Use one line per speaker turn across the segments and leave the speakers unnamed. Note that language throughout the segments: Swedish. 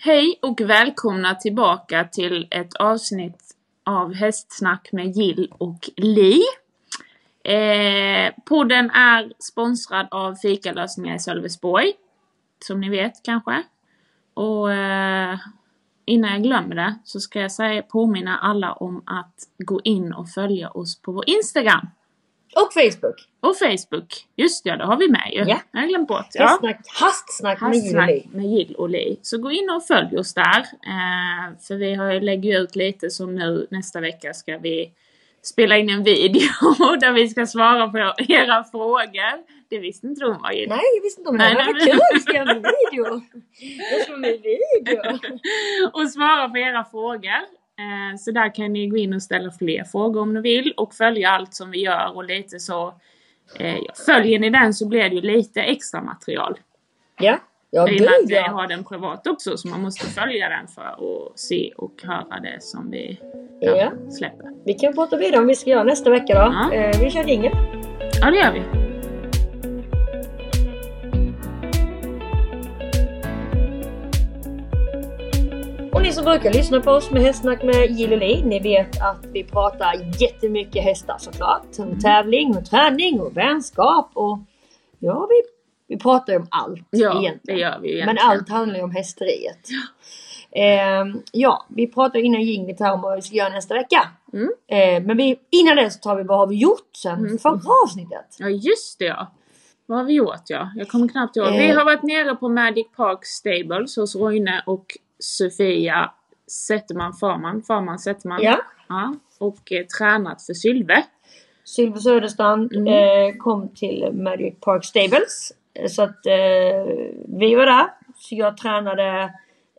Hej och välkomna tillbaka till ett avsnitt av Hästsnack med Jill och Li. Eh, podden är sponsrad av Fikalösningar i Sölvesborg. Som ni vet kanske. Och eh, innan jag glömmer det så ska jag säga, påminna alla om att gå in och följa oss på vår Instagram
Och Facebook.
och Facebook. Just ja, det har vi med ju.
Ja.
Jag har glömt bort. Ja.
Hästsnack, hastsnack med
Hashtag
Julie.
med Jill och Li. Så gå in och följ oss där. Eh, för vi har ju lägger ut lite som nu nästa vecka ska vi spela in en video där vi ska svara på era frågor. Det visste inte du var Jill.
Nej, jag visste inte om det här.
Nej, nej,
Vad kul! Vi ska göra en video. Jag ska med video.
Och svara på era frågor. Eh, så där kan ni gå in och ställa fler frågor om ni vill och följa allt som vi gör och lite så eh, Följer ni den så blir det ju lite extra material.
Ja, ja
I och med att
gud
vi
ja.
har den privat också så man måste följa den för att se och höra det som vi ja,
ja.
släpper.
Vi kan prata vidare om vi ska göra nästa vecka då.
Ja.
Eh, vi kör ringen.
Ja det gör vi.
Och ni som brukar lyssna på oss med Hästsnack med Jill och Li, ni vet att vi pratar jättemycket hästar såklart.
Mm.
Om tävling, och träning och vänskap och ja, vi, vi pratar ju om allt
Ja det
egentligen.
gör vi egentligen.
Men allt handlar ju om hästeriet. Ehm, ja, vi pratade innan jinglet här om vad vi ska göra nästa vecka.
Mm.
Ehm, men vi, innan det så tar vi vad har vi gjort sen
Mm.
förra avsnittet.
Ja just det ja. Vad har vi gjort ja? Jag kommer knappt ihåg. Vi
Eh.
har varit nere på Magic Park Stables hos Roine och Sofia Zetterman Farman. Farman Zetterman.
Ja.
Ja. Och eh, tränat för Sylve.
Sylver Söderstrand
Mm.
eh, kom till Magic Park Stables. Eh, Så att eh, vi var där. Så jag tränade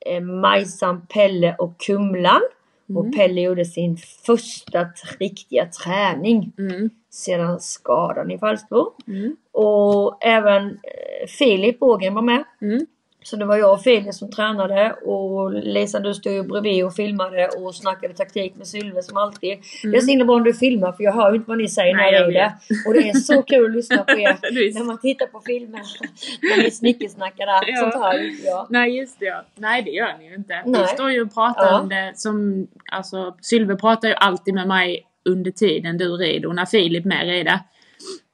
eh, Majsan, Pelle och Kumlan.
Mm.
Och Pelle gjorde sin första t- riktiga träning
Mm.
sedan skadan i Falsterbo.
Mm.
Och även eh, Filip Ågren var med.
Mm.
Så det var jag och Filip som tränade och Lisa du stod ju bredvid och filmade och snackade taktik med Sylve som alltid. Det är så himla bra om du filmar för jag hör ju inte vad ni säger
Mm. Nej,
när jag
jag
är där. Och det är så kul att lyssna på er
Visst.
när man tittar på filmer. när ni snickesnackar där.
Ja.
Sånt hör ju inte jag.
Nej just det ja. Nej det gör ni ju inte. Vi
Nej.
står ju och pratar
Ja.
om det som, alltså Sylve pratar ju alltid med mig under tiden du rider och när Filip med rider.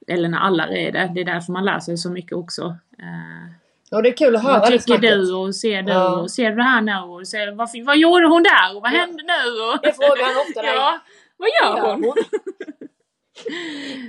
Eller när alla rider. Det är därför man lär sig så mycket också. Eh,
Och det är kul att höra
vad
det
tycker
snacket.
du och ser du
Ja.
och ser du det här nu och ser, vad, vad gjorde hon där och vad
Ja.
hände nu? Och,
Det frågar han ofta dig.
ja, vad gör hon?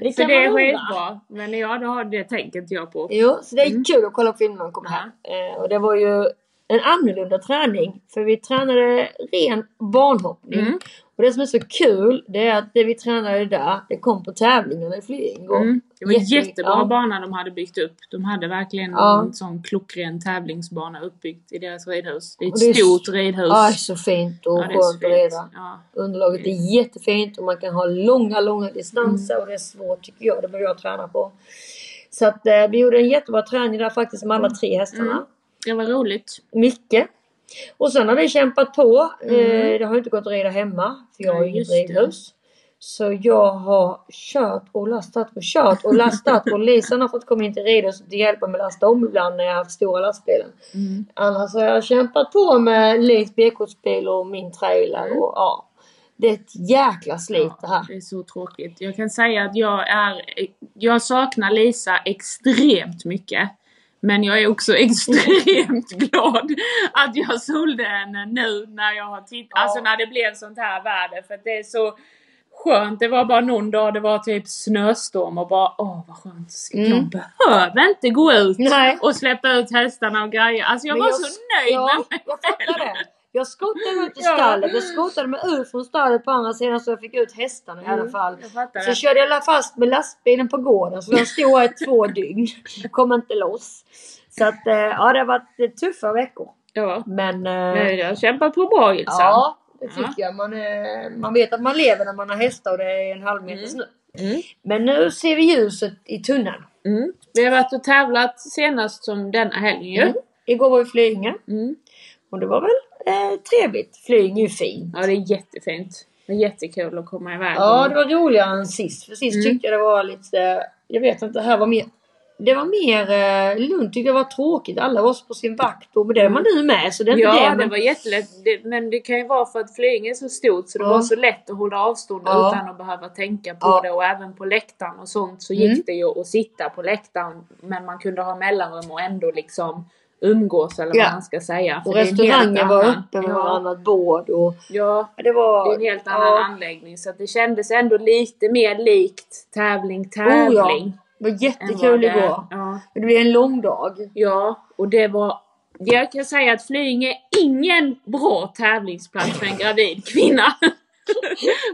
Det
Så
kan
det är
man undra.
skitbra. Men ja, det, har, det tänker inte jag på.
Jo, så det är kul att kolla på filmen när man kommer
Mm. Ja.
hem. Eh, och det var ju en annorlunda träning. För vi tränade ren banhoppning.
Mm.
Och det som är så kul, det är att det vi tränade där, det kom på tävlingarna i Flyinge.
Mm. Det var
Jätte-
jättebra
ja.
bana de hade byggt upp. De hade verkligen
Ja.
en sån klockren tävlingsbana uppbyggt i deras ridhus. Det är
Och det är
ett stort ridhus.
Ja, det är så fint och
Ja, det är så
skönt att reda.
fint. Mm. Ja.
Underlaget är jättefint och man kan ha långa, långa distanser
Mm.
och det är svårt tycker jag. Det behöver jag träna på. Så att eh, vi gjorde en jättebra träning där faktiskt med alla tre hästarna.
Mm. Det var roligt.
Mycket. Och sen har vi kämpat på. Eh,
Mm.
det har ju inte gått att rida hemma. För jag har ju
Nej,
inget
just det.
ridhus. Så jag har kört och lastat och kört och lastat. och Lisan har fått komma in till ridhuset och hjälpa mig att lasta om ibland när jag har haft stora lastbilen.
Mm.
Annars har jag kämpat på med Lis B-kortsbil och min trailer. Och, ja. Det är ett jäkla slit det här.
Mm. Ja, det är så tråkigt. Jag kan säga att jag är... Jag saknar Lisa extremt mycket. Men jag är också extremt glad att jag sålde henne nu när jag har tittat.
Ja.
Alltså när det blev sånt här väder. För att det är så skönt. Det var bara någon dag det var typ snöstorm och bara åh vad skönt.
Mm.
Jag behöver inte gå ut
Nej.
och släppa ut hästarna och grejer. Alltså jag
Men
var
jag-
så nöjd
Ja,
med mig.
jag fattar det. Jag skottade mig ut ur
Ja.
stallet. Jag skottade mig ut från stallet på andra sidan så jag fick ut hästarna i
Mm.
alla fall.
Jag fattar
Så
det.
körde jag fast med lastbilen på gården så den stod här i två dygn. Kom inte loss. Så att eh, ja, det har varit eh, tuffa veckor.
Ja.
Men eh,
Men Jag kämpar på bra liksom. Ilsa.
ja, det tycker jag. Man, eh, man vet att man lever när man har hästar och det är en halv meter
Mm.
snö.
Mm.
Men nu ser vi ljuset i tunneln.
Mm. Vi har varit och tävlat senast som denna helgen ju.
Mm. Igår var vi i Flyinge
Mm.
och det var väl eh, trevligt. Flyinge är ju fint.
Ja, det är jättefint. Det är jättekul att komma iväg.
Ja, det var roligare än sist. För sist
Mm.
tyckte jag det var lite... Jag vet inte, det här var mer det var mer, eh, Lund tyckte jag var tråkigt. Alla var på sin vakt och det var du med. Så det är inte
ja,
det.
det,
men-
var jättelätt. Det, men det kan ju vara för att Flyinge är så stort så det
Ja.
var så lätt att hålla avstånd
Ja.
utan att behöva tänka på
Ja.
det. Och även på läktaren och sånt så
Mm.
gick det ju att sitta på läktaren. Men man kunde ha mellanrum och ändå liksom umgås eller
Ja.
vad man ska säga. för
Och
det är en
restaurangen
helt
var
annan-
öppen med
ja,
varannat bord. Och,
ja,
det var...
det är en helt annan
ja,
anläggning. Så att det kändes ändå lite mer likt tävling,
Oh ja.
tävling.
Det var
än vad
jättekul
det-
igår.
Ja.
Men det blev en lång dag.
Ja, och det var... Jag kan säga att Flyinge är ingen bra tävlingsplats för en gravid kvinna.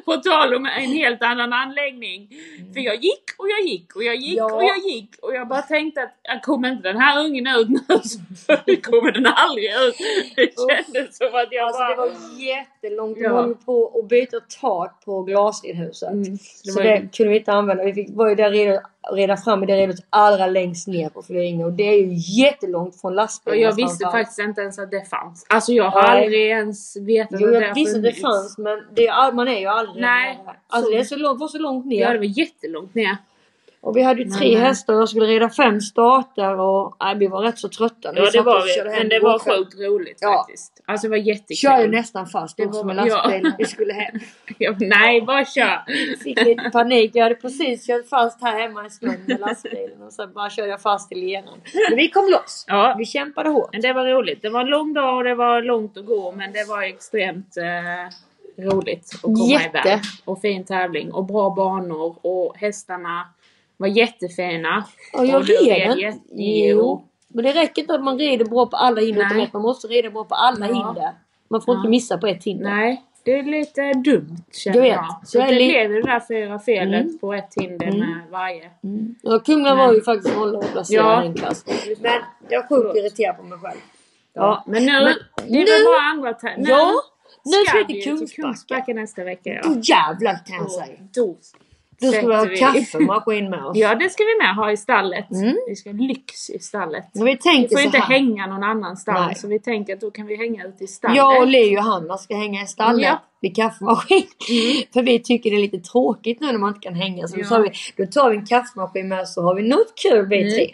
På tal om en helt annan anläggning. För jag gick och jag gick och jag gick
Mm. Ja.
och jag gick och jag bara tänkte att jag kommer inte den här ungen ut nu så kommer den aldrig ut. Det kändes som att jag
Alltså, det
bara...
var jättelångt. De
Ja.
höll på att byta tak på glasinhuset.
Mm, så det
så
var
det
ju-
kunde vi inte använda. Vi fick, var ju där redan, redan fram i det redan allra längst ner på Flyinge. Och det är ju jättelångt från
Och
lastbilen.
jag visste faktiskt inte ens att det fanns. Alltså jag har
Nej.
aldrig ens vetat
Jo,
att
jag
det
visste att det fanns men det är, all- man är ju aldrig
Nej.
nära. Alltså det är så långt, var så långt ner.
Ja, det var jättelångt ner.
Och vi hade ju tre
Men, eh,
hästar och jag skulle rida fem starter och nej, vi var rätt så trötta. när
Ja det
satt
var
och körde
vi,
hem
men det var
igår kväll.
sjukt roligt
Ja.
faktiskt. Alltså det var jättekul.
Kör ju nästan fast
Det
också
var-
med
ja.
lastbilen när vi skulle hem.
Ja, nej, bara kör!
Fick lite panik. Jag hade precis kört fast här hemma en stund med lastbilen och sen bara körde jag fast i leran. Men vi kom loss.
Ja,
Vi kämpade hårt.
men det var roligt. Det var en lång dag och det var långt att gå men det var extremt eh, roligt att komma
Jätte.
iväg. Och fin tävling och bra banor och hästarna var jättefina.
Och jag
du
red den.
jätte- Jo.
Men det räcker inte att man rider bra på alla hinder. utan
Nej.
att Man måste rida bra på alla
Ja.
hinder. Man får
Ja.
inte missa på ett hinder.
Nej, det är lite dumt känner
Jag
jag.
vet.
Så
Jag är
det
li-
blev det där fyra felet
Mm.
på ett hinder
Mm.
med varje.
Mm. Ja, Kumla
Men-
var ju faktiskt hållplacerad
Ja.
i en klass. Men jag är sjukt irriterad på mig själv.
Ja, men nu,
Men
det är
nu-
väl bara andra tä- nu
Ja, nu ska vi
vi
till
ju
Kungsbacka.
Kungsbacka nästa vecka ja.
Då jävlar kan jag
Och
säga.
Då
Då ska vi ha
sätter vi-
kaffemaskin med oss.
Ja, det ska vi med ha i stallet.
Mm.
Vi ska ha lyx i stallet.
Men vi
Vi
tänker
får
så
inte
här.
hänga någon annanstans,
Nej.
så vi tänker att då kan vi hänga ute i stallet.
Jag och Leo och Hanna ska hänga i stallet
Ja. Mm.
vid kaffemaskin. För vi tycker det är lite tråkigt nu när man inte kan hänga. Så då,
Ja.
sa vi, då tar vi en kaffemaskin med oss så har vi något kul vi
Mm.
tre.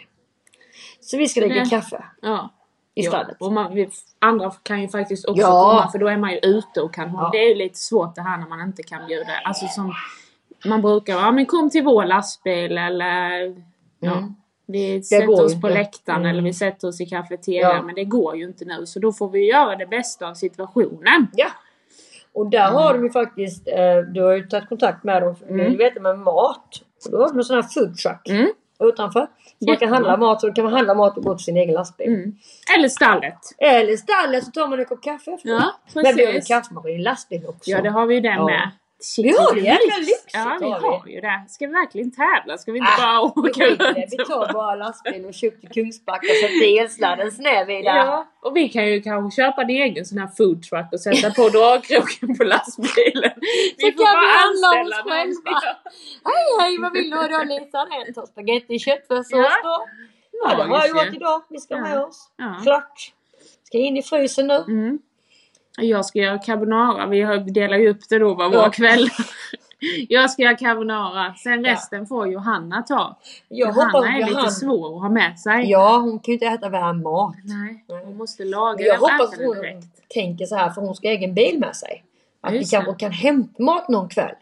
Så vi ska dricka
det-
kaffe
ja.
i
Ja,
stallet.
Och man, vi, andra kan ju faktiskt också
Ja.
komma för då är man ju ute och kan
Ja.
Det är ju lite svårt det här när man inte kan bjuda. Alltså som man brukar vara, ja men kom till vår lastbil eller ja,
Mm.
vi sätter
går
oss
ju
på
inte.
läktaren
Mm.
eller vi sätter oss i kafeterian.
Ja.
Men det går ju inte nu så då får vi göra det bästa av situationen.
Ja. Och där har de ju faktiskt, eh, du har ju tagit kontakt med dem, mm. du vet det med mat. Och då har de en sån här food truck
Mm.
utanför. Så man kan
Jättebra.
handla mat, så då kan man handla mat och gå till sin egen lastbil.
Mm. Eller stallet.
Eller i stallet så tar man en kopp kaffe efteråt.
Ja,
Men vi har ju
precis.
kaffemaskin i lastbil också.
Ja, det har vi ju den
Ja.
med. Shit,
Vi har
vilken
det jävla
lyx.
lyxigt,
Ja, vi
har vi.
har ju det. Ska vi verkligen tävla? Ska vi inte
Äh,
bara
Vi
åka
skiter i det. Vi
runt? och-
tar bara lastbilen och kör till Kungsbacka och sätter elsladden snäv i där.
Ja, och vi kan ju kanske köpa en egen sån här foodtruck och sätta på dragkroken på lastbilen.
Så
Vi får
kan
bara
vi handla oss
anställa någon.
själva. Hej hej vad vill du ha då Lisa? En tår spagetti och
Ja.
köttfärssås då. Ja det har jag gjort idag. Vi ska
Ja.
med oss.
Ja.
Klart. Ska in i frysen nu.
Mm. Jag ska göra carbonara. Vi har- delar ju upp det då var våra
Ja.
kvällar. Jag ska göra carbonara. Sen
Ja.
resten får Johanna ta.
Jag
Johanna
hoppas
är
att
lite
Johanna...
svår att ha med sig.
Ja hon kan ju inte äta varm mat.
Nej,
Nej.
hon måste laga
Men jag
den och
hoppas
äta
att
den
hon
direkt.
tänker så här för hon ska ha egen bil med sig. Att vi
Just
kanske kan hämta mat någon kväll.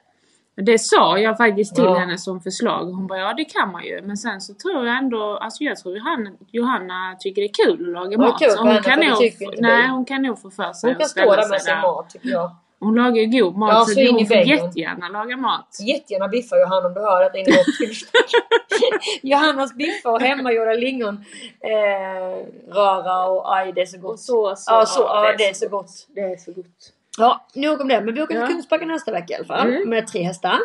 Det sa jag faktiskt till
Ja.
henne som förslag. Hon bara, ja det kan man ju. Men sen så tror jag ändå, alltså jag tror Johanna, Johanna tycker det är kul att laga
Vad
mat.
kul
Så
för
hon,
henne,
kan
för det
nog,
tycker inte
nej,
vi.
hon kan nog få för sig
Hon kan
att
stå
ställa
där
sig
med sin mat tycker jag.
Hon lagar ju god mat
Ja,
så,
så in i
hon får
väggen.
jättegärna laga mat.
Jättegärna biffar Johanna om du hör detta innan jag Johannas biffar och hemmagjorda lingon. Eh, röra och aj det är så
Och
gott.
så, så,
Ja, så, ja, det är så gott.
Det är så gott.
Ja, nog om det. Men vi åker till
Ja.
Kungsbacka nästa vecka i alla fall.
Mm.
Med tre hästar.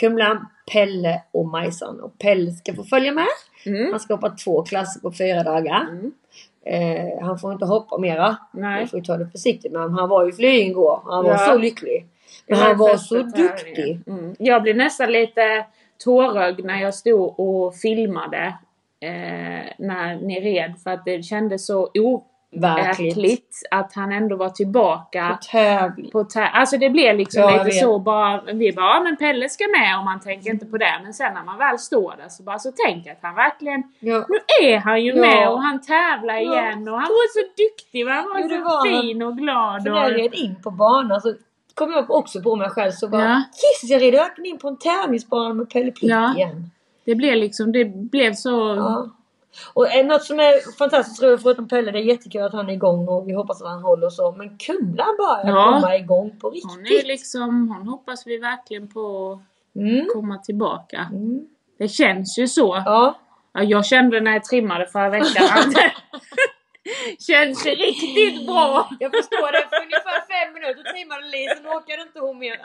Kumlan, Pelle och Majsan. Och Pelle ska få följa med.
Mm.
Han ska hoppa två klasser på fyra dagar.
Mm.
Eh, han får inte hoppa mera.
Nej.
Jag får ju ta det försiktigt. Men han var ju flyg igår. Han var
Ja.
så lycklig. Men
Det
han var
första
så
tävlingen.
duktig.
Mm. Jag blev nästan lite tårögd när jag stod och filmade eh, när ni red för att det kändes så o-
Verkligt.
äckligt att han ändå var tillbaka.
På tävling.
På tä- alltså det blev liksom
Ja, jag
lite
vet.
så bara, vi bara ja, men Pelle ska med och man tänker inte på det. Men sen när man väl står där så bara så tänker jag att han verkligen,
Ja.
nu är han ju
Ja.
med och han tävlar
Ja.
igen och han var så duktig va? han var
Jo, det
så
var han.
fin och glad.
För när jag
Och,
red in på banan så kom jag också på mig själv så bara
Ja.
Jesus jag red öken in på en tävlingsbana med Pelle Pitt
Ja.
igen.
det blev liksom, det blev så...
Ja. Och eh, något som är fantastiskt roligt förutom Pelle, det är jättekul att han är igång och vi hoppas att han håller och så. Men Kumlan börjar
Ja.
komma igång på
Hon är ju
riktigt.
liksom, hon hoppas vi verkligen på
Mm.
att komma tillbaka.
Mm.
Det känns ju så.
Ja.
Ja, jag kände när jag trimmade förra veckan att det känns riktigt bra.
Jag förstår det, för ungefär fem minuter trimmade Li, sen orkade inte hon mer.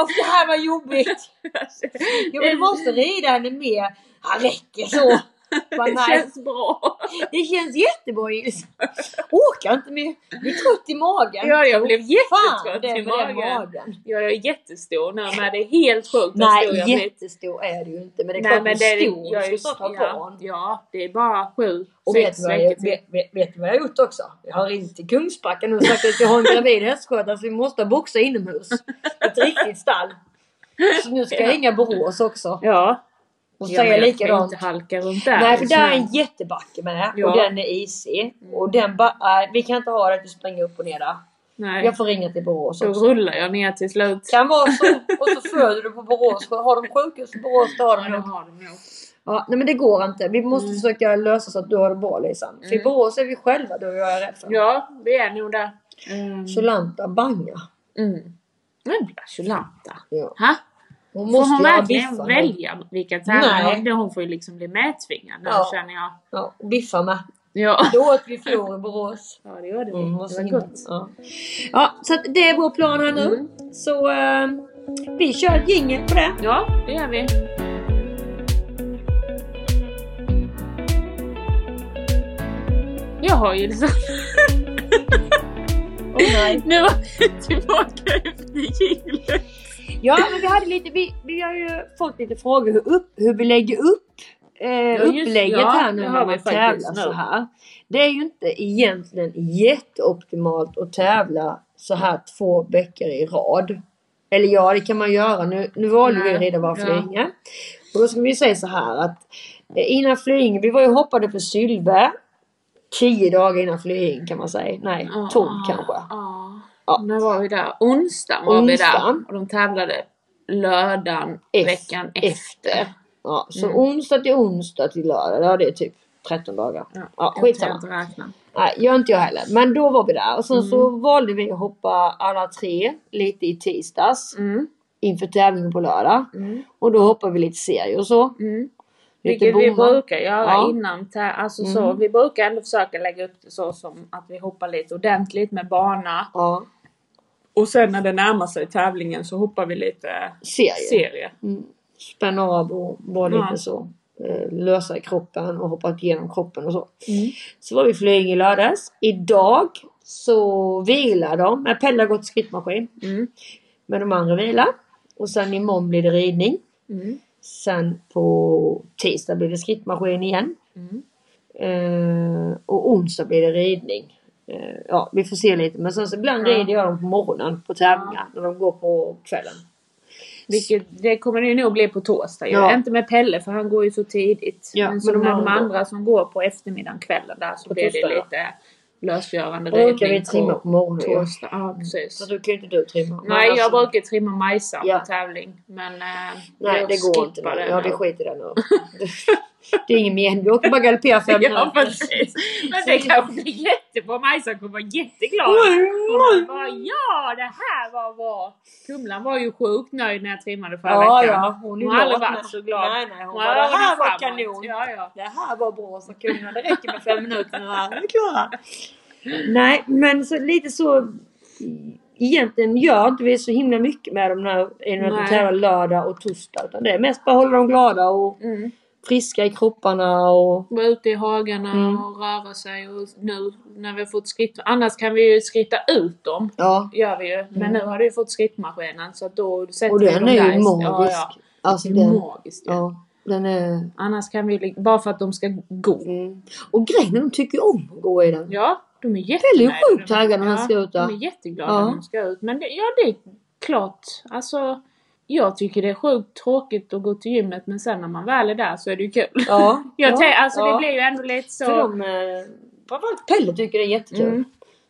Och det här var jobbigt. Jag men du måste rida henne mer. Han räcker så. Bara,
Det
nej,
känns bra.
det känns jättebra Iris. Orkar inte mer. Du är trött i magen.
Ja, jag blev
Fan,
jättetrött
det
i
med den
magen.
magen.
Ja, jag är jättestor nu men det är helt sjukt hur stor jag
Nej,
blivit.
jättestor är du ju inte. Men det är
Nej,
klart du
men det
är stor.
är,
Du
jag
ska
är,
snart ha
ja,
barn.
ja, det är bara sju,
Och vet
sex
du, vad jag,
veckor till.
vet, vet, vet du vad jag har gjort också? Jag har ringt till Kungsbacka nu och sagt att jag har en gravid hästskötare så vi måste boxa inomhus. Ett riktigt stall. Så nu ska jag ringa Borås också
Ja,
och
ja, men
säga
jag kan
likadant.
inte halka runt där. liksom.
Nej, för
Så-
där är en jättebacke med
Ja.
och den är isig. Och den ba- nej, vi kan inte ha det att du springer upp och ner där.
Nej,
Jag får ringa till Borås
så
också.
rullar jag ner till slut.
Kan vara så. Och så föder du på Borås. Har de sjukhus på Borås då har de
Ja,
nog
det har de nog.
Ja, nej men det går inte. Vi måste försöka lösa så att du har det bra Lisan. För i Borås är vi själva då jag är rädd för.
Ja, vi är nog där. Mm.
Jolanta Banga.
Mm. Men Jolanta.
Ja.
Ha?
Hon
Får hon
ju ha
verkligen
Biffa med.
välja vilka tävlingar?
Nej.
Hon- Hon får ju liksom bli medtvingad nu
Ja.
känner jag.
Ja, och Biffa med.
Ja.
Då åt vi fjol i Borås.
ja, det gjorde vi.
Mm,
det
vad så
var
himla-
gott. Mm.
Ja. ja, så att det är vår plan här nu. Så eh, vi kör jingeln på det.
Ja, det gör vi. Jag har ju liksom...
Åh, nej.
Nu var vi tillbaka efter julen.
Ja, men vi hade lite, vi, vi har ju fått lite frågor hur, upp, hur vi lägger upp eh,
just-
upplägget
ja,
här nu
det
när
har
man
vi faktiskt
tävlar
nu.
så här. Det är ju inte egentligen jätteoptimalt att tävla så här två veckor i rad. Eller ja, det kan man göra. Nu, nu valde vi
Nej,
att rida bara
ja.
Flyinge. Och då ska vi säga så här att eh, innan Flyinge, vi var ju hoppade på Sylve. Tio dagar innan Flyinge kan man säga. Nej, tolv kanske.
Ja.
Ja.
När var vi där? Onsdagen var vi
Onsdagen.
där. Och de tävlade lördagen
Ef-
veckan efter. Mm.
efter. Ja, så onsdag till onsdag till lördag, ja det är typ 13 dagar. Ja,
Jag
skitsamma.
kan inte räkna.
Nej, gör inte jag heller. Men då var vi där och sen så
Mm.
valde vi att hoppa alla tre lite i tisdags
Mm.
inför tävlingen på lördag.
Mm.
Och då hoppar vi lite serier och så.
Mm.
Lite
Vilket vi
bommar.
brukar göra
Ja. Mm.
innan tä- alltså så, Vi brukar ändå försöka lägga upp det så som att vi hoppar lite ordentligt med bana.
Ja,
Och sen när det närmar sig tävlingen så hoppar vi lite
serier.
serie.
Mm. Spänna av och vara lite
Ja.
så. eh, Lösa i kroppen och hoppa igenom kroppen och så.
Mm.
Så var vi i Flyinge i lördags. Idag så vilar de. Men Pelle har gått skrittmaskin.
Mm.
Men de andra vilar. Och sen imorgon blir det ridning.
Mm.
Sen på tisdag blir det skrittmaskin igen.
Mm.
Eh, och onsdag blir det ridning. Eh, ja, vi får se lite. Men sen så ibland
Ja.
rider jag dem på morgonen på tävlingar. När de går på kvällen.
Vilket, det kommer det ju nog bli på torsdag ju.
Ja.
Inte med Pelle för han går ju så tidigt.
Ja,
men
men
så
de
med de
andra-
andra som går på eftermiddagen, kvällen där så
På
blir
torsdag,
det
ja.
lite lösgörande
Då brukar vi trimma på
på
morgonen ju.
torsdag. Ja, precis.
Så då kan ju inte du trimma. Men
Nej, jag
alltså-
brukar trimma Majsan
Ja.
på tävling. Men eh,
Nej,
jag
det går inte.
skippar
nu.
den
Ja, vi
nu.
skiter i det nu. Det är ingen mening. Du åker bara galoppera fem
Ja,
minuter.
precis. Men det kanske blir jättebra. Majsan kommer vara jätteglad. Och hon bara, ja, det här var bra. Kumlan var ju sjukt nöjd när jag trimmade förra
Ja,
veckan.
ja. Hon, är
Hon har aldrig
glad.
varit så glad.
Nej, nej. Hon
Ja,
bara, det här var
framåt."
kanon.
Ja, ja.
Det här var bra sa kungarna. Det räcker med fem minuter nu här. Vi är klara. Nej, men så, lite så. Egentligen gör inte vi så himla mycket med dem när i och med att
Nej.
vi tävlar lördag och torsdag. Utan det är mest bara hålla dem glada och
Mm.
friska i kropparna och
Vara ute i hagarna
Mm.
och röra sig. Och nu när vi har fått skritt... Annars kan vi ju skritta ut dem.
ja.
Gör vi ju. Men nu har du ju fått skrittmaskinen så att då sätter
Mm. Och
vi
den
dem
är ju
där i-
magisk.
Ja, ja.
Alltså
Det är
den,
magiskt ju.
ja, den är...
Annars kan vi ju... li- Bara för att de ska gå.
Mm. Och grejen är, de tycker ju om att gå i den.
Ja, De är
Pelle
jättenöjda.
är sjukt taggad när han
Ja,
ska ut
De
va?
är jätteglada
Ja.
när de ska ut. Men det, ja, det är klart. Alltså, jag tycker det är sjukt tråkigt att gå till gymmet men sen när man väl är där så är det ju kul.
Ja.
Jag
ja,
tänker, alltså
ja.
det blir ju ändå lite så...
För de, eh, framförallt Pelle tycker det är jättekul.
Mm.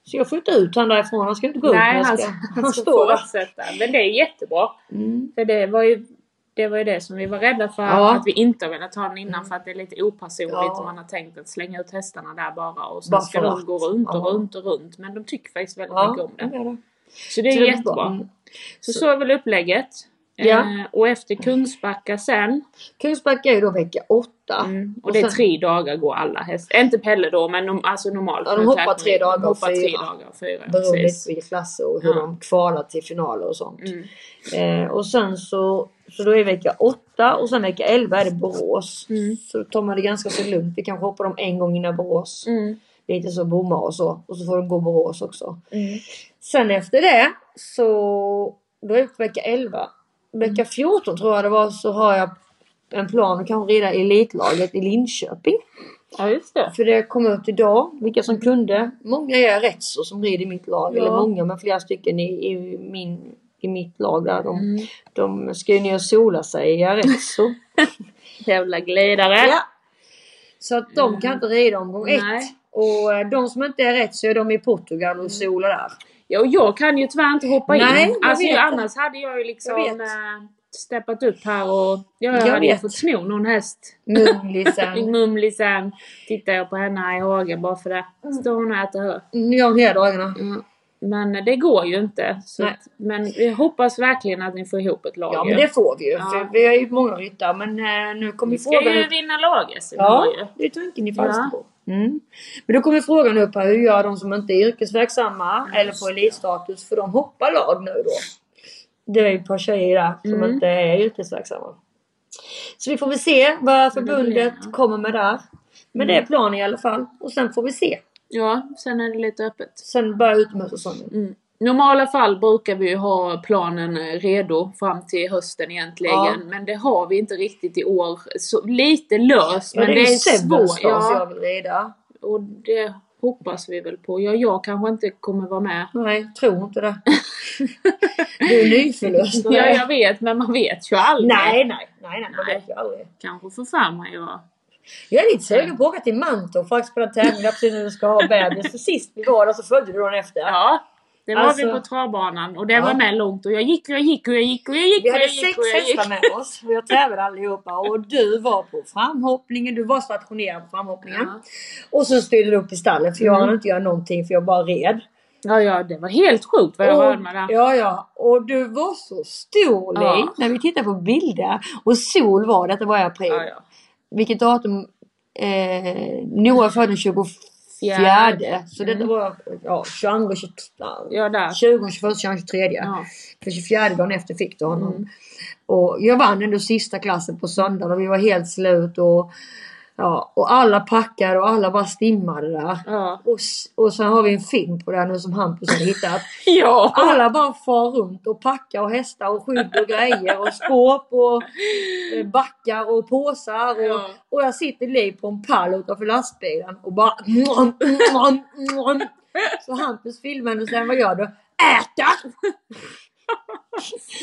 Så jag får inte ut han därifrån. Han ska inte gå ut. men
Nej,
jag
han,
ska,
han, han
står
ska
där.
fortsätta. Men det är jättebra.
Mm.
För det var ju det, var ju det som vi var rädda för
Ja.
att vi inte har velat ha den innan för att det är lite opersonligt
Ja.
och man har tänkt att slänga ut hästarna där bara och sen
Bara
ska
för
de
att.
gå runt och
Ja.
runt och runt. Men de tycker faktiskt väldigt mycket
Ja,
om
det
det.
är det.
Så det är
Så det är
jättebra.
bra. Mm.
Så
Så-
så är väl upplägget.
Ja.
Eh, och efter Kungsbacka sen,
Kungsbacka är ju då vecka åtta.
mm, och,
och
det är
sen-
tre dagar går alla hästar. Inte Pelle då men de, alltså normalt.
Ja, de
men
hoppar
tävling,
tre dagar
de
och
hoppar tre
fyra.
dagar och fyra.
Beroende
Precis.
på vilka klasser och hur
Ja.
de kvalar till finaler och sånt.
Mm.
Eh, och sen så, så då är vecka 8 och sen vecka 11 är det Borås.
Mm.
Så då tar man det ganska så lugnt. Vi kanske hoppar dem en gång innan Borås.
Mm.
Lite så bommar och så. Och så får de gå Borås också.
Mm.
Sen efter det så, då är vi på vecka 11. Vecka
Mm.
14 tror jag det var så har jag en plan att kanske rida Elitlaget i Linköping.
Ja just det.
För det kom ut idag, vilka som kunde. Många är rätt så som rider i mitt lag.
Mm. Ja.
Eller många, men flera stycken i, i, min, i mitt lag där. De,
Mm.
de ska ju ner och sola sig i Arezzo.
Jävla glidare.
ja. Så att de kan inte rida omgång ett.
Nej. Mm.
Och eh, de som inte är rätt så är de i Portugal och solar där.
Ja, och jag kan ju tyvärr inte hoppa
Nej,
in.
jag
Alltså,
vet.
ju, annars hade jag ju liksom
Jag vet.
eh, steppat upp här och ja, jag,
Jag
hade ju
vet.
fått sno någon häst. I
Mumlisen.
Mumlisen tittar jag på henne här i hagen bara för det.
Mm.
Står hon och äter hö.
Ja, de här dagarna.
Men eh, det går ju inte. Så
Mm. Nej.
att, men vi hoppas verkligen att ni får ihop ett lag.
Ja,
ju.
men det får vi ju.
Ja.
För vi har ju många ryttare. Men eh, nu kommer
vi ska
frågan
ju
upp.
vinna laget. så vi har ju.
Ja, det är tanken i fasta på. Mm. Men då kommer frågan upp här. Hur gör de som inte är yrkesverksamma eller får elitstatus? För de hoppar lag nu då. Det är ju ett par tjejer där som
Mm.
inte är yrkesverksamma. Så vi får väl se vad förbundet
blir, ja. Mm.
kommer med där. Men det är planen i alla fall. Och sen får vi se.
ja, sen är det lite öppet.
Sen börjar utomhussäsongen.
Mm. Normala fall brukar vi ju ha planen eh, redo fram till hösten egentligen.
Ja.
Men det har vi inte riktigt i år. Så lite löst
Ja,
men det är, svårt.
Ja.
Ja,
jag vill rida.
och det hoppas vi väl på. Ja, jag kanske inte kommer vara med.
Nej, tror inte det. du är nyförlöst.
Ja, jag vet men man vet ju aldrig.
Nej, nej, nej, nej, man
Nej.
vet ju aldrig.
Kanske får för mig att...
Jag är lite sugen på att åka till Mantorp för att spela tävling där precis när du ska ha bebis. För sist vi var där så följde du dagen efter.
Ja. Det var vi
Alltså-
på travbanan och det
Ja.
var med långt och jag gick och jag gick och jag gick och jag gick och
Vi
jag
hade
gick
sex
och jag gick.
hästar med oss och jag tävlade allihopa. Och du var på framhoppningen, du var stationerad på framhoppningen.
Ja.
Och så styrde du upp i stallet för jag
Mm.
hann inte göra någonting för jag bara red.
Ja, ja, det var helt sjukt vad jag
och,
rörde mig där.
ja, ja. och du var så stor Li,
Ja.
när vi tittar på bilder. Och sol var det, det var i april.
Ja, ja.
Vilket datum? Eh, Noah föddes den 24.
Fjärde.
Så detta
Mm.
var ja, 22, 23.
Ja, där.
20, 21, 22, 23.
Ja.
För 24 dagen efter fick du honom.
Mm.
Och jag vann ändå sista klassen på söndagen och vi var helt slut och, ja, och alla packade och alla bara stimmade där.
Ja.
Och, s- och sen har vi en film på det här nu som Hampus har hittat.
ja.
Alla bara far runt och packar och hästar och skydd och grejer och skåp och eh, backar och påsar. Och,
Ja.
och jag sitter Li på en pall utanför lastbilen och bara... Så Hampus filmade och sen vad gör du? Äta!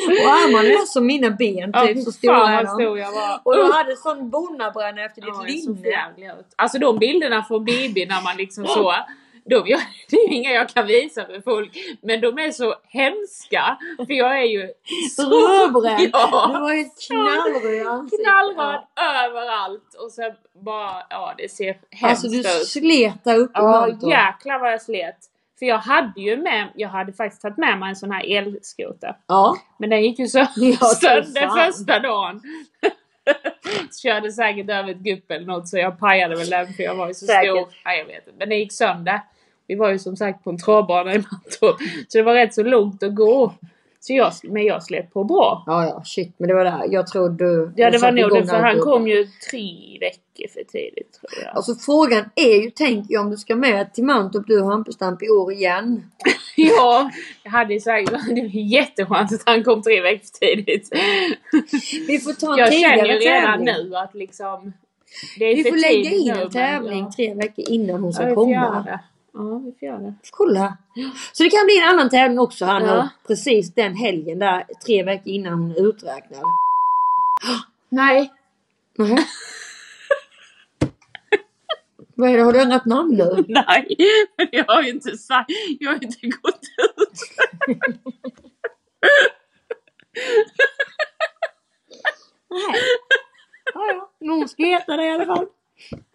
Och armarna är som mina ben
Ja,
typ,
fy
så stora
fan
är
vad
de.
stor jag var.
Och du hade typ sån bonnabränna efter ditt
Ja, det såg för
linne.
jävligt ut. Alltså de bilderna från BB när man liksom så, de, jag, det är inga jag kan visa för folk, men de är så hemska för jag är ju
Rödbränd!
Ja.
Du var ju knallröd i ansiktet.
knallröd överallt och sen bara, ja det ser hemskt
Alltså du
ut.
slet där uppe
Ja
runt om.
jäklar vad jag slet. För jag hade ju med, jag hade faktiskt tagit med mig en sån här elskoter.
Ja.
Men den gick ju så
Ja, fy
sönder
fan.
första dagen. Körde säkert över ett gupp eller något så jag pajade väl den för jag var ju så
Säkert.
stor. Nej jag vet inte. Men den gick sönder. Vi var ju som sagt på en travbana i Mantorp. Så det var rätt så långt att gå. Så jag, men jag slet på bra.
Ja, ja, shit. Men det var det här. Jag tror du...
Ja
jag
det var
satte
nog
igång
det för han
alltihop.
kom ju tre veckor för tidigt tror jag.
Alltså frågan är ju, tänk jag om du ska med till Mantorp du och Hampustamp i år igen.
Ja, jag hade ju säkert... Det var jätteskönt att han kom tre veckor för tidigt.
Vi får ta en
Jag
tidigare
känner ju redan
tävling.
nu att liksom... Det är
Vi
för
får lägga
tidigt
in
nu,
en
men
tävling
ja.
tre veckor innan hon
Ja,
ska
vi får göra
komma.
det. Ja, vi får göra det.
Kolla! Så det kan bli en annan tävling också här nu.
Ja.
Precis den helgen där, tre veckor innan hon är uträknad.
Nej.
Nej. Vad är det? Har du ändrat namn nu?
Nej, men jag har ju inte sagt, jag har inte gått ut.
Nej. Ja, ja. Men hon ska heta det i alla fall.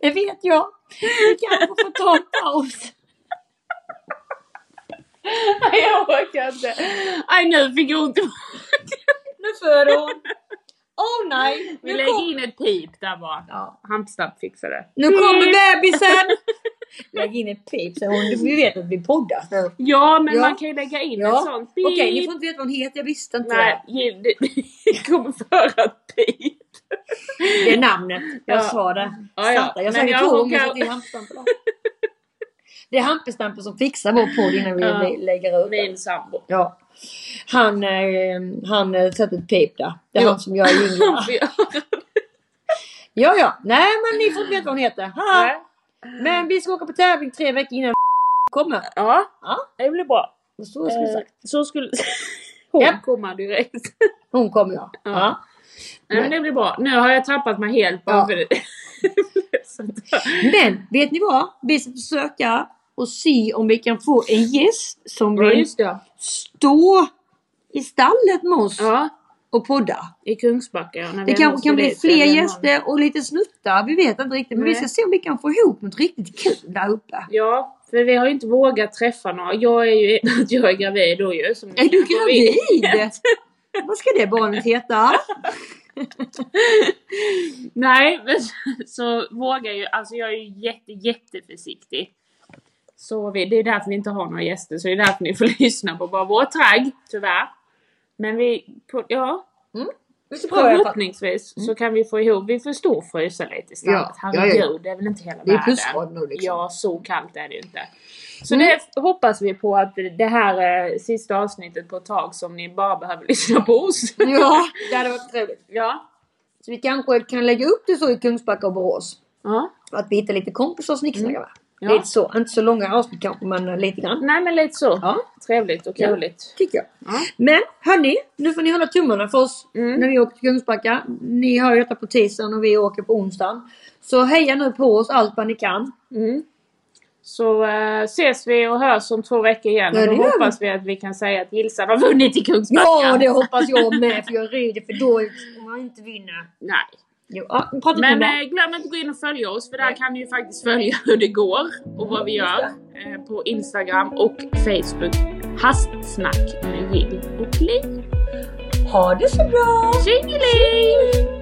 Det vet jag. Vi kanske får ta en paus.
Nej, jag orkar inte. Nej, nu fick jag ont i
Nu för hon. Åh nej!
Vi
Nu,
lägger
kom,
in ett pip där bara. Ja. Hamstab fixar det. Mm.
nu kommer bebisen! Mm. Lägg in ett pip så hon, vi vet att vi poddar nu.
Ja, men
Ja.
man kan ju lägga in ett
Ja.
sånt pip.
Okej, ni får inte veta vad hon heter. Jag visste inte
Nej, ge- det det kommer föra ett pip.
det. Det är namnet. Jag
Ja.
sa det.
Ja, ja.
Satte- Jag sa
Men
det
jag
två gånger.
råkar-
så att det är Hampus-Stampe då. Det är Hampus-Stampe som fixar vår podd innan vi
Ja.
lä- lägger ut den.
Min sambo.
Ja. Han, eh, han eh, sätter ett pip där. Det är
Ja.
han som gör jinglarna. Ja, ja. Nej, men ni får inte veta vad hon heter. Ha.
Nej.
Men vi ska åka på tävling tre veckor innan kommer.
Ja,
Ja.
det blir bra.
Vad Så jag skulle
Eh,
sagt.
Så skulle... Hon
Japp.
komma direkt.
Hon kommer ja.
Ja.
ja.
Nej, men det blir bra. Nu har jag tappat mig helt bara
Ja.
för det.
Men vet ni vad? Vi ska försöka och se om vi kan få en gäst som
Ja,
vill
just det.
stå i stallet med oss
Ja,
och podda.
i Kungsbacka. Ja, när
Det
vi
kanske
måste
kan bli
dit,
fler
eller någon.
gäster och lite snuttar. Vi vet inte riktigt men vi
Nej.
ska se om vi kan få ihop något riktigt kul där uppe.
Ja, för vi har ju inte vågat träffa några. Jag är ju att jag är gravid då ju. Som ni
Är du
kanske vet.
gravid? Vad ska det barnet heta?
Nej, men så- så vågar ju, alltså jag är ju jätte, jätteförsiktig. Så vi, det är därför vi inte har några gäster, så det är därför ni får lyssna på bara vår tragg, tyvärr. Men vi, på, ja,
Vi ska prova i alla fall.
förhoppningsvis så kan vi få ihop, vi får stå och frysa lite i stallet.
Mm. Ja, ja, ja.
Herregud, det är väl inte hela
Det är
världen.
plusgrader nu liksom.
Ja, så kallt är det ju inte. Så
Mm.
det hoppas vi på att det här eh, sista avsnittet på ett tag som ni bara behöver lyssna på oss.
Ja, det hade varit trevligt.
ja.
Så vi kanske kan lägga upp det så i Kungsbacka och Borås.
ja.
Att vi hittar lite kompisar och snicksnackar med.
Mm. Ja.
Lite så, inte så långa avsnitt kanske men lite grann.
Nej men lite så.
Ja,
Trevligt och
Ja.
roligt.
tycker jag.
Ja.
Men hörni, nu får ni hålla tummarna för oss
Mm.
när vi åker till Kungsbacka. Ni hör ju detta på tisdagen och vi åker på onsdagen. Så heja nu på oss allt vad ni kan.
Mm. Så eh, ses vi och hörs om två veckor igen.
Ja,
och
det
då
gör vi.
hoppas vi att vi kan säga att Gilsan har vunnit i Kungsbacka.
Ja, det hoppas jag med för jag rider för dåligt om man inte vinner.
Nej.
Jo, ja, prata inte om
Men
det.
eh, glöm inte att gå in och följa oss för där kan ni ju faktiskt följa hur det går och vad vi gör eh, på Instagram och Facebook. Hastsnack med Jill och Li. eh,
Ha det så bra!
Tjingeling!